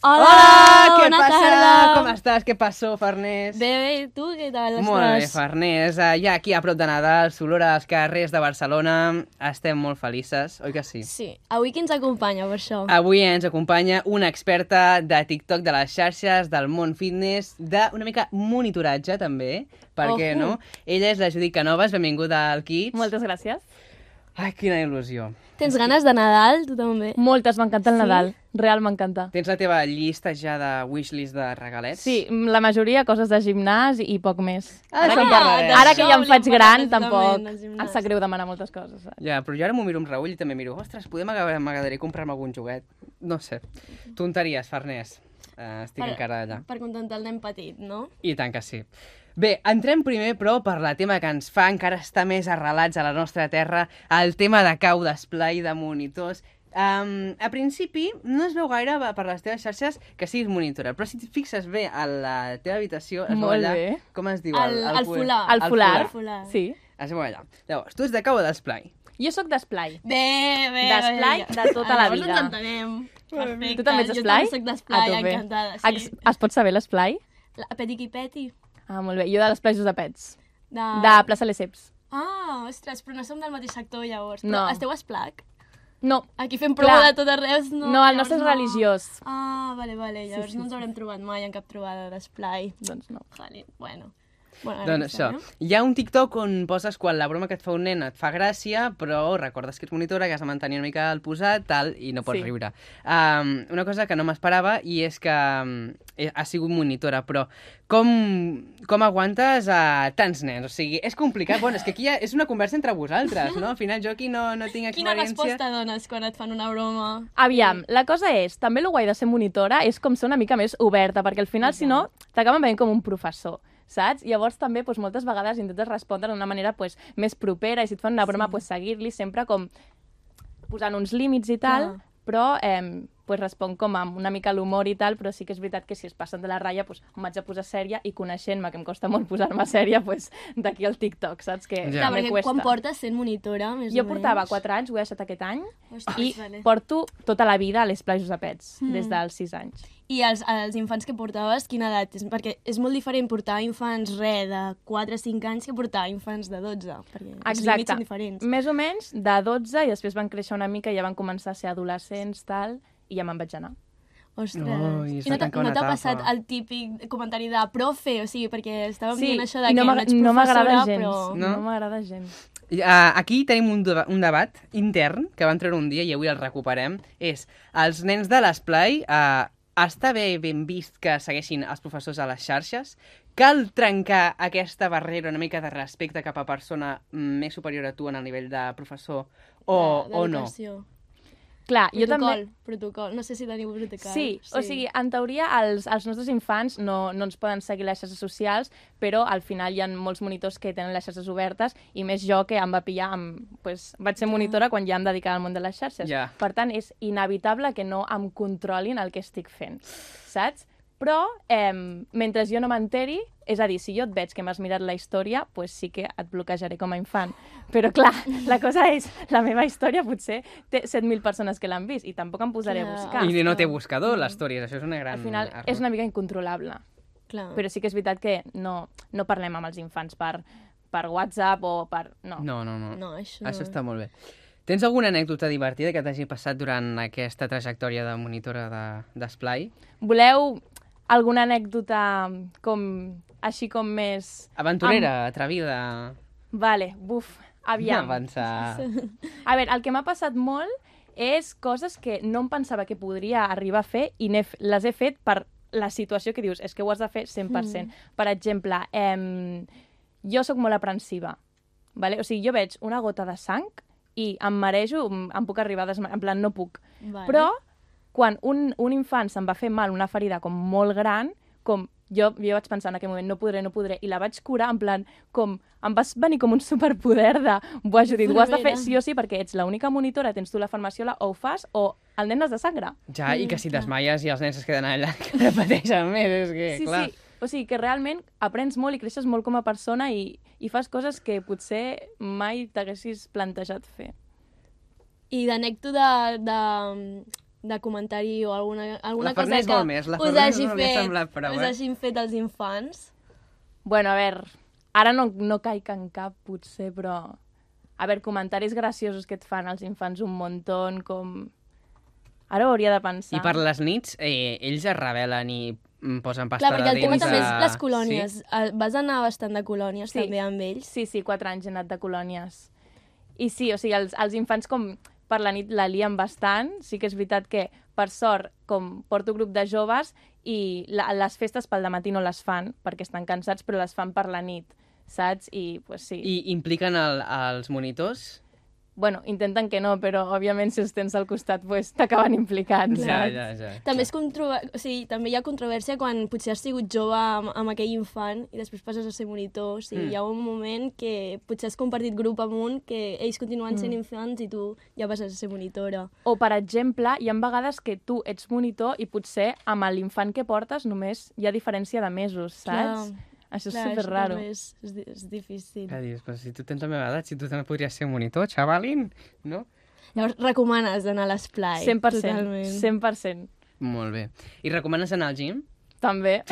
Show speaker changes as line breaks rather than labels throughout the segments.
Hola,
què
bona
passa?
tarda.
Com estàs? Què passó, Farners?
Bé, bé, i tu què tal
Molt bé,
estàs?
Farners. Eh, Ja aquí a prop de Nadal, s'olora als carrers de Barcelona. Estem molt felices, oi que sí?
Sí, avui qui ens acompanya per això?
Avui ens acompanya una experta de TikTok de les xarxes, del món fitness, de una mica monitoratge, també, per què
Ojo.
no? Ella és la Judit Canovas, benvinguda al Kids.
Moltes gràcies.
Ai, quina il·lusió.
Tens ganes de Nadal, tu també?
Moltes, m'encanta el
Sí?
Nadal. Real, m'encanta.
Tens la teva llista ja de wishlist de regalets?
Sí, la majoria coses de gimnàs i poc més.
Ara,
Ara,
se'n parlarem.
d'això
Ara que ja em
volíem
faig
parlar
gran,
precisament,
tampoc
del gimnàs.
em sap greu demanar moltes coses. eh. saps?
Ja, però jo ara m'ho miro amb Raül i també miro, ostres, poder m'agra- m'agradaria comprar-me algun joguet. No sé. Tonteries, Farners. Uh, estic
Per-
encara allà.
Per contentar el nen petit, no?
I tant que sí. Bé, entrem primer, però, per la tema que ens fa encara estar més arrelats a la nostra terra, el tema de cau d'esplai, de monitors... Um, a principi, no es veu gaire va, per les teves xarxes que siguis monitora, però si et fixes bé a la teva habitació, es veu
Molt
allà,
bé.
com es diu?
El, el,
cul-
folar.
El folar.
Ah, El folar.
Sí.
Es veu allà. Llavors, tu ets de cau d'esplai.
Jo sóc d'esplai.
Bé, bé,
D'esplai
bé.
de tota la
Llavors
vida.
ens entenem. Perfecte.
Tu també ets d'esplai?
Jo també soc
A
d'esplai,
tope.
encantada.
Ex-
Sí.
Es pot saber l'esplai?
La, peti qui peti.
Ah, molt bé. Jo de l'esplai Josepets.
De...
De plaça Lesseps.
Ah, ostres, però no som del mateix sector, llavors.
No.
Però esteu a Esplac?
No,
Aquí fem
Clar.
prova de tot arreu, no?
no, el
llavors
nostre és
no.
religiós.
Ah, vale, vale, llavors
sí,
no ens haurem trobat mai en cap trobada d'esplai.
Doncs no.
Vale, bueno. bueno ara
Doncs
no sé,
això,
no?
hi ha un TikTok on poses quan la broma que et fa un nen et fa gràcia, però recordes que ets monitora, que has de mantenir una mica el posat, tal, i no pots
Sí.
riure. Um, una cosa que no m'esperava i és que um, he- has sigut monitora, però com, com aguantes a tants nens? O sigui, és complicat. Bueno, és que aquí ja és una conversa entre vosaltres, no? Al final jo aquí no, no tinc
Quina
experiència.
resposta dones quan et fan una broma?
Aviam, la cosa és, també el guai de ser monitora és com ser una mica més oberta, perquè al final, si no, t'acaben veient com un professor, saps? Llavors també doncs, moltes vegades intentes respondre d'una manera doncs, més propera i si et fan una broma doncs, seguir-li sempre com posant uns límits i tal,
Clar.
però eh, doncs, respon com amb una mica l'humor i tal, però sí que és veritat que si es passen de la ratlla doncs, m'haig de posar sèria i coneixent-me, que em costa molt posar-me sèria, doncs, d'aquí al TikTok, saps? Que
Ja.
Clar,
me
perquè
cuesta.
quan portes sent monitora, més
Jo
o
portava
menys.
4 anys, ho he deixat aquest any,
Ostres,
i
vale.
porto tota la vida a les plages a pets, mm. des dels 6 anys.
I els, els infants que portaves, quina edat? És, perquè és molt diferent portar infants, re, de 4 o 5 anys que portar infants de 12, perquè els límits són diferents.
Més o menys de 12 i després van créixer una mica i ja van començar a ser adolescents, tal, i ja me'n vaig anar.
Ostres.
Ui, es
I no t'ha
va tancar
no
una
t'ha
etapa.
passat el típic comentari de profe, o sigui, perquè estàvem
Sí,
dient això de que
i no
no
m'agra-
ets
no
professora,
m'agrada gens.
però...
No?
No, no m'agrada gens.
Uh, aquí tenim un, deba un debat intern que vam treure un dia i avui el recuperem. És, els nens de l'esplai, uh, està bé ben vist que segueixin els professors a les xarxes? Cal trencar aquesta barrera una mica de respecte cap a persona més superior a tu en el nivell de professor o,
de-
o no?
d'educació.
Clar, jo també...
Protocol, protocol. No sé si teniu protocol.
Sí, sí, o sigui, en teoria els, els nostres infants no, no ens poden seguir les xarxes socials, però al final hi ha molts monitors que tenen les xarxes obertes i més jo que em va pillar, amb, pues, vaig ser monitora quan ja em dedicava al món de les xarxes.
Ja.
Per tant, és inevitable que no em controlin el que estic fent, saps? Però, eh, mentre jo no m'enteri, és a dir, si jo et veig que m'has mirat la història, pues sí que et bloquejaré com a infant. Però, clar, la cosa és, la meva història potser té 7.000 persones que l'han vist i tampoc em posaré a
Clar.
buscar.
I no té buscador, les històries, això és una gran...
Al final
error.
és una mica incontrolable.
Clar.
Però sí que és veritat que no, no parlem amb els infants per, per WhatsApp o per... No.
No, no, no.
No, això
Això
no.
està molt bé. Tens alguna anècdota divertida que t'hagi passat durant aquesta trajectòria de monitora de- d'esplai? De,
Voleu alguna anècdota com, així com més...
Aventurera, atrevida...
Vale, buf, aviam.
Avançar.
A veure, el que m'ha passat molt és coses que no em pensava que podria arribar a fer i n'he f- les he fet per la situació que dius, és que ho has de fer 100%. Per exemple, em, jo sóc molt aprensiva, vale? o sigui, jo veig una gota de sang i em marejo, em em puc arribar a desma... en plan, no puc.
Vale.
Però quan un, un infant se'n va fer mal, una ferida com molt gran, com jo, jo vaig pensar en aquell moment, no podré, no podré, i la vaig curar, en plan, com, em vas venir com un superpoder de, buah, Judit, ho has de fer
Infermera.
sí o sí, perquè ets l'única monitora, tens tu la farmaciola, o ho fas, o el nen has de sangrar.
Ja, i que si desmaies i els nens es queden allà, que repeteixen més, és que,
sí,
clar.
sí. O sigui, que realment aprens molt i creixes molt com a persona i, i fas coses que potser mai t'haguessis plantejat fer.
I d'anècdota de, de de comentari o alguna, alguna
La
cosa
Farners
que
vol més, la
us,
Farners
hagi
no li ha semblat
fet,
prou,
us
eh?
hagin fet els infants?
Bueno, a veure, ara no, no caic en cap, potser, però... A veure, comentaris graciosos que et fan els infants un muntó, com... Ara ho hauria de pensar.
I per les nits, eh, ells es revelen i mm, posen pasta
Clar, perquè el
de
tema
dents
també
a-
és les colònies. Sí? Vas anar bastant de colònies
Sí.
sí. també amb ells.
Sí, sí, quatre anys he anat de colònies. I sí, o sigui, els, els infants com per la nit la lien bastant. Sí que és veritat que, per sort, com porto grup de joves i la, les festes pel matí no les fan perquè estan cansats, però les fan per la nit, saps? I, pues, sí. I...
I impliquen el, els monitors?
Bueno, intenten que no, però, òbviament, si els tens al costat, pues, t'acaben implicant, saps?
ja, ja.
També, és controver... o sigui, també hi ha controvèrsia quan potser has sigut jove amb, amb aquell infant i després passes a ser monitor. O sigui,
Mm.
mm. Hi ha un moment que potser has compartit grup amb un que ells continuen sent infants i tu ja passes a ser monitora.
O, per exemple, hi ha vegades que tu ets monitor i potser amb l'infant que portes només hi ha diferència de mesos, saps? Clar, Això és
Clar,
superraro. Eh.
també És, és, di- és difícil.
Que dius, però si tu tens la meva edat, si tu també podries ser monitor, xavalin, no?
Llavors, recomanes d'anar a l'esplai.
100%,
Totalment.
100%.
Molt bé. I recomanes anar al gym?
També.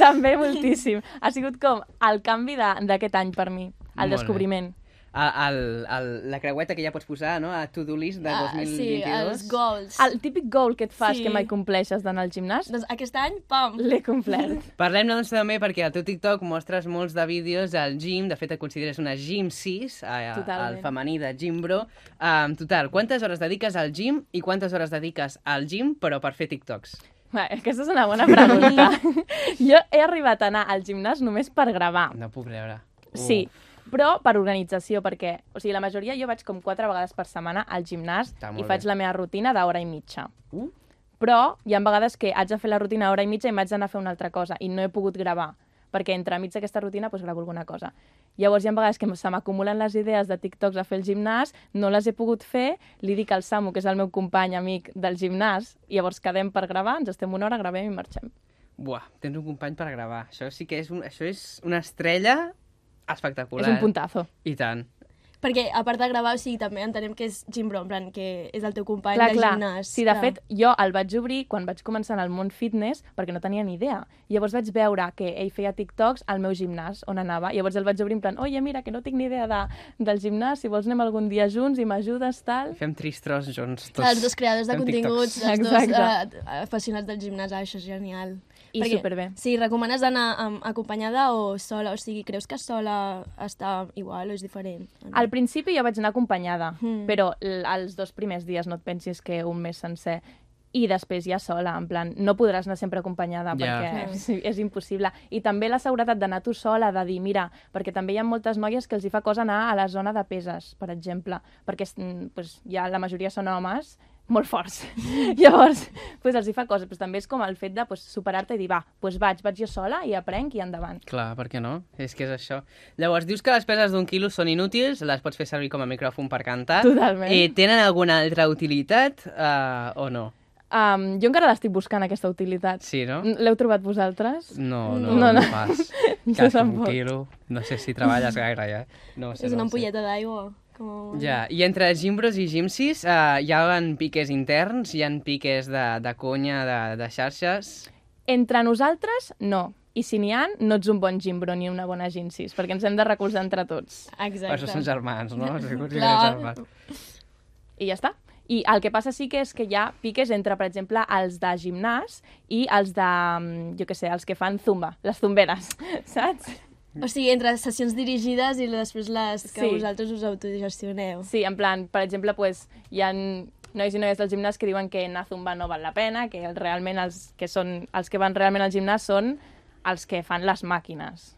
També moltíssim. Ha sigut com el canvi de- d'aquest any per mi,
Molt
el
bé.
descobriment.
A, al, al, la creueta que ja pots posar, no? A to-do list de
Ah,
2022.
sí, els goals.
El típic goal que et fas
Sí.
que mai compleixes d'anar al gimnàs,
Doncs aquest any, pam!
l'he complert.
Parlem-ne doncs també perquè al teu TikTok mostres molts de vídeos al gym, de fet et consideres una gym 6, a, a, al
Totalment.
femení de gym bro. Um, total, quantes hores dediques al gym i quantes hores dediques al gym però per fer TikToks?
Va, aquesta és una bona pregunta. jo he arribat a anar al gimnàs només per gravar.
No puc creure.
Sí, però per organització, perquè o sigui, la majoria jo vaig com quatre vegades per setmana al gimnàs
Està molt
i faig
bé.
la meva rutina d'hora i mitja.
Uh.
Però hi ha vegades que haig de fer la rutina hora i mitja i m'haig d'anar a fer una altra cosa i no he pogut gravar, perquè entre mig d'aquesta rutina doncs, gravo alguna cosa. Llavors hi ha vegades que se m'acumulen les idees de TikToks a fer el gimnàs, no les he pogut fer, li dic al Samu, que és el meu company amic del gimnàs, i llavors quedem per gravar, ens estem una hora, gravem i marxem.
Buah, tens un company per gravar. Això sí que és, un, això és una estrella espectacular.
És un puntazo.
I tant.
Perquè, a part de gravar, o sigui, també entenem que és Jim Brown, en plan, que és el teu company de gimnàs.
Sí, de fet, jo el vaig obrir quan vaig començar en el món fitness perquè no tenia ni idea. Llavors vaig veure que ell feia TikToks al meu gimnàs on anava. Llavors el vaig obrir en plan, oye, mira, que no tinc ni idea de, del gimnàs, si vols anem algun dia junts i m'ajudes, tal.
Fem tristros junts. Tots.
Tots, els dos creadors de
Doncs Fem
continguts,
TikToks.
els dos
Exacte.
eh, aficionats del gimnàs, ah, això és genial.
I superbé.
Sí, recomanes d'anar amb- acompanyada o sola? O sigui, creus que sola està igual o és diferent?
Al principi jo vaig anar acompanyada,
Mm.
mm. però l- els dos primers dies no et pensis que un mes sencer i després ja sola, en plan, no podràs anar sempre acompanyada
Ja.
perquè
Clar.
és, és impossible. I també la seguretat d'anar tu sola, de dir, mira, perquè també hi ha moltes noies que els hi fa cosa anar a la zona de peses, per exemple, perquè es- mm, pues, ja la majoria són homes molt forts. Llavors, pues, els hi fa cosa. Pues, també és com el fet de pues, superar-te i dir, va, pues, vaig, vaig jo sola i aprenc i endavant.
Clar, per què no? És que és això. Llavors, dius que les peses d'un quilo són inútils, les pots fer servir com a micròfon per cantar.
Totalment.
Eh, tenen alguna altra utilitat uh, o no?
Um, jo encara l'estic buscant, aquesta utilitat.
Sí, no?
Mm.
L'heu trobat vosaltres?
No, no, no,
No,
no
no.
pas.
Jo
Cas com un
tampoc.
quilo, no sé si treballes gaire ja. No ho sé,
és
no
una
ho sé.
ampolleta d'aigua. Com...
Ja, i entre gimbros i gimsis uh, hi ha piques interns, hi ha piques de, de conya, de, de xarxes...
Entre nosaltres, no. I si n'hi ha, no ets un bon gimbro ni una bona ginsis, perquè ens hem de recolzar entre tots.
Exacte.
Però Això són germans, no? Això són
Clar.
germans.
I ja està. I el que passa sí que és que hi ha piques entre, per exemple, els de gimnàs i els de, mm, jo què sé, els que fan zumba, les zumberes, saps?
O sigui, entre sessions dirigides i després les que
Sí.
vosaltres us autogestioneu.
Sí, en plan, per exemple, pues, hi ha nois i noies del gimnàs que diuen que anar a zumba no val la pena, que el- realment els que, són, els que van realment al gimnàs són els que fan les màquines.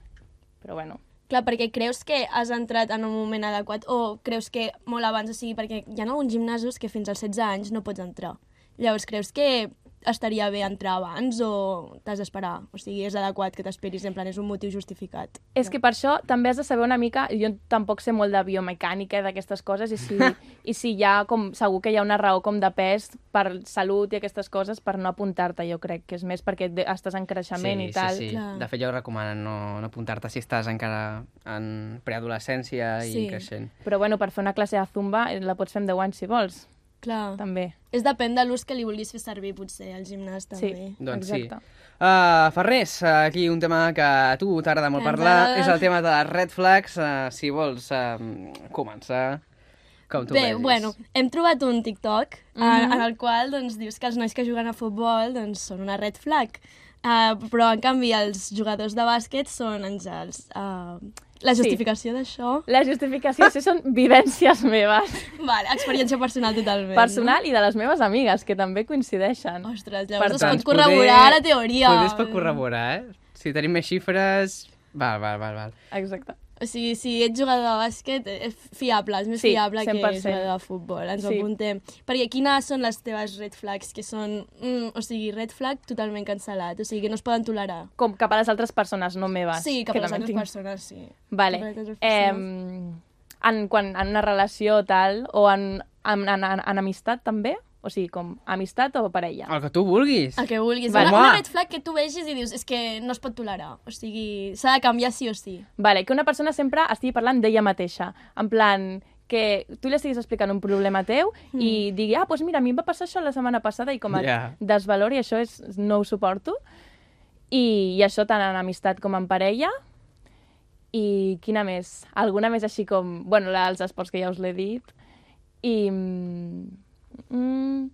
Però bueno,
Clar, perquè creus que has entrat en un moment adequat o creus que molt abans, o sigui, perquè hi ha alguns gimnasos que fins als 16 anys no pots entrar. Llavors, creus que estaria bé entrar abans o t'has d'esperar? O sigui, és adequat que t'esperis, en plan, és un motiu justificat.
És que per això també has de saber una mica, jo tampoc sé molt de biomecànica i d'aquestes coses, i si, i si hi ha com, segur que hi ha una raó com de pes per salut i aquestes coses per no apuntar-te, jo crec, que és més perquè de- estàs en creixement i tal.
Sí, sí.
Clar.
De fet, jo ho recomano no, no apuntar-te si estàs encara en preadolescència i
Sí.
creixent.
Però bueno, per fer una classe de zumba eh, la pots fer amb 10 anys si vols.
Clar.
també.
És depèn de l'ús que li vulguis fer servir, potser, al gimnàs, també.
Sí.
Doncs
Exacte.
sí. Uh, Ferrés, eh, aquí un tema que a tu t'agrada molt
Que ens
parlar,
agrada.
és el tema de les red flags, uh, si vols uh, començar com tu
Bé,
vegis.
bueno, hem trobat un TikTok mm -hmm.
Mhm.
en el qual doncs, dius que els nois que juguen a futbol doncs, són una red flag, uh, però en canvi els jugadors de bàsquet són àngels. Uh, la
Sí.
justificació d'això...
La justificació sí, són vivències meves,
Vale, experiència personal totalment.
personal i de les meves amigues, que també coincideixen.
No? Ostres, llavors
Per
es
tant,
pot corroborar la teoria.
Poder Doncs es pot corroborar, eh? Si tenim més xifres... Val, val, val, val.
Exacte.
O sigui, si ets jugador de bàsquet, eh, és fiable, és més
Sí,
fiable que
100%.
jugador de futbol, ens ho
Sí.
apuntem. Perquè quines són les teves red flags, que són, mm, o sigui, red flag totalment cancel·lat, o sigui, que no es poden tolerar.
Com cap a les altres persones, no meves.
Sí, cap
que
a les
també
altres
tinc.
persones, sí.
Vale.
Cap a les altres persones.
Eh, en, quan, en una relació tal, o en, en, en, en, en amistat també? O sigui, com amistat o parella?
El que tu vulguis.
El que vulguis.
Vale.
Una,
Home.
una red flag que tu vegis i dius, és que no es pot tolerar, o sigui, s'ha de canviar sí o sí.
Vale, que una persona sempre estigui parlant d'ella mateixa. En plan, que tu li estiguis explicant un problema teu mm. i digui, ah, doncs mira, a mi em va passar això la setmana passada i com et
Ja.
desvalori, això és, no ho suporto. I, I això tant en amistat com en parella. I quina més? Alguna més així com... Bueno, la dels esports que ja us l'he dit. I... mm, Mm,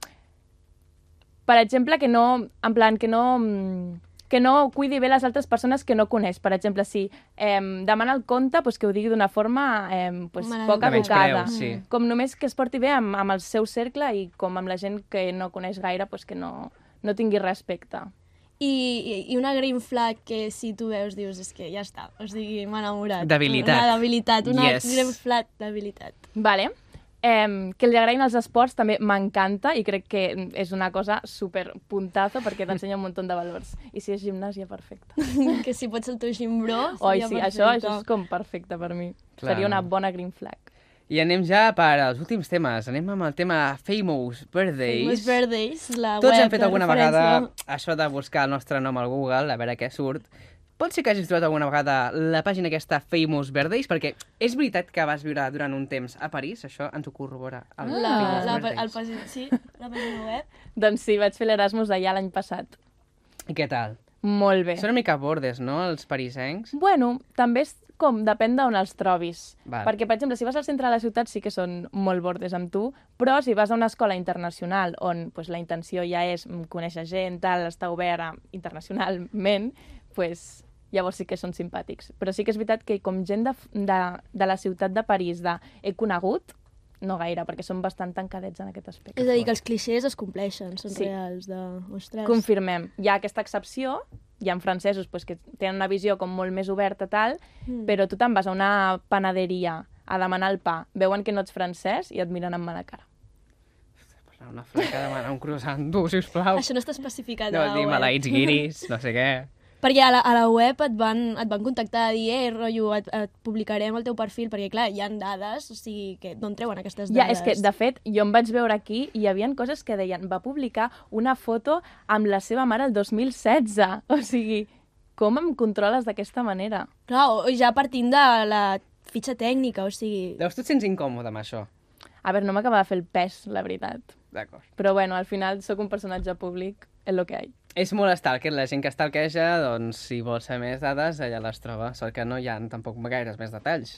per exemple, que no, en plan, que no, mm, que no cuidi bé les altres persones que no coneix. Per exemple, si em demana el compte, pues, que ho digui d'una forma em, pues,
Mare
poc
de Déu.
educada.
De menyspreu, sí.
Com només que es porti bé amb, amb el seu cercle i com amb la gent que no coneix gaire, pues, que no, no tingui respecte.
I, i, i una green flag que si tu veus dius, és que ja està, o sigui, m'ha enamorat.
Debilitat.
Una debilitat, una
Yes.
green flag debilitat.
Vale. Eh, que li agradin els esports també m'encanta i crec que és una cosa super puntazo perquè t'ensenya un munt de valors. I si és gimnàsia, perfecte.
que si pots el teu gimbró
Oi,
seria
sí,
perfecte.
això, això és com perfecte per mi.
Clar.
Clar. Seria una bona green flag.
I anem ja per als últims temes. Anem amb el tema Famous Birthdays.
Famous Birthdays, la
Tots
web,
hem fet
la
alguna vegada
referència.
això de buscar el nostre nom al Google, a veure què surt. Pot ser que hagis trobat alguna vegada la pàgina aquesta Famous Birthdays, perquè és veritat que vas viure durant un temps a París, això ens ho corrobora
Ah,
el
La,
Famous
la,
Birthdays.
el, pagi- sí, la pàgina web.
Doncs sí, vaig fer l'Erasmus allà l'any passat.
I què tal?
Molt bé.
Són una mica bordes, no?, els parisencs.
Bueno, també és com, depèn d'on els trobis.
Val.
Perquè, per exemple, si vas al centre de la ciutat sí que són molt bordes amb tu, però si vas a una escola internacional on pues, la intenció ja és mm, conèixer gent, tal, estar obert a- internacionalment, pues, llavors sí que són simpàtics. Però sí que és veritat que com gent de, f- de, de la ciutat de París de he conegut, no gaire, perquè són bastant tancadets en aquest aspecte.
És a dir, que els clixés es compleixen, són
Sí.
reals de... Ostres.
Confirmem. Hi ha aquesta excepció, hi ha francesos pues, que tenen una visió com molt més oberta tal,
Hmm.
mm. però tu te'n vas a una panaderia a demanar el pa, veuen que no ets francès i et miren amb mala cara.
Una flaca demana un croissant dur, sisplau.
Això no està especificat
No,
a la
dir
web.
malaïts guiris, no sé què.
Perquè a la, a la web et van, et van contactar a dir, eh, rotllo, et, et publicarem el teu perfil, perquè clar, hi han dades, o sigui, que d'on treuen aquestes dades?
Ja, és que, de fet, jo em vaig veure aquí i hi havia coses que deien va publicar una foto amb la seva mare el 2016. O sigui, com em controles d'aquesta manera?
Clar, o, o ja partint de la fitxa tècnica, o sigui...
Llavors tu et sents incòmode amb això.
A veure, no m'acaba de fer el pes, la veritat.
D'acord.
Però bueno, al final sóc un personatge públic, és el que hi ha.
És molt stalker, la gent que stalkeja, doncs si vol saber més dades, allà les troba. Sort que no hi ha tampoc gaires més detalls.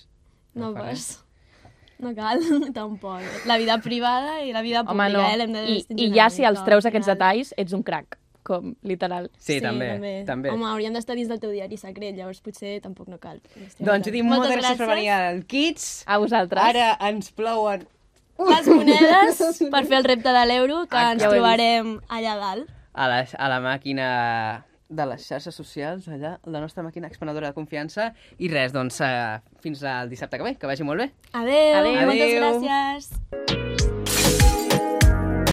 No
fa res.
pas. No cal, tampoc. La vida privada i la vida pública,
Home, no.
eh? L'hem de
I, I
distingir
ja
una
si
mica,
els treus
al
aquests
final.
detalls, ets un crac, com, literal.
Sí, també, també.
Home, hauríem d'estar dins del teu diari secret, llavors potser tampoc no cal.
Doncs Judit, moltes, moltes gràcies per venir al Kids.
A vosaltres.
Ara ens plouen.
Les monedes per fer el repte de l'euro, que
Ah,
ens
ja ho he vist.
trobarem allà dalt.
A la, a la màquina de les xarxes socials, allà, la nostra màquina expanadora de confiança. I res, doncs, eh, fins al dissabte que ve, que vagi molt bé.
Adeu,
Adeu.
moltes
Adeu.
gràcies.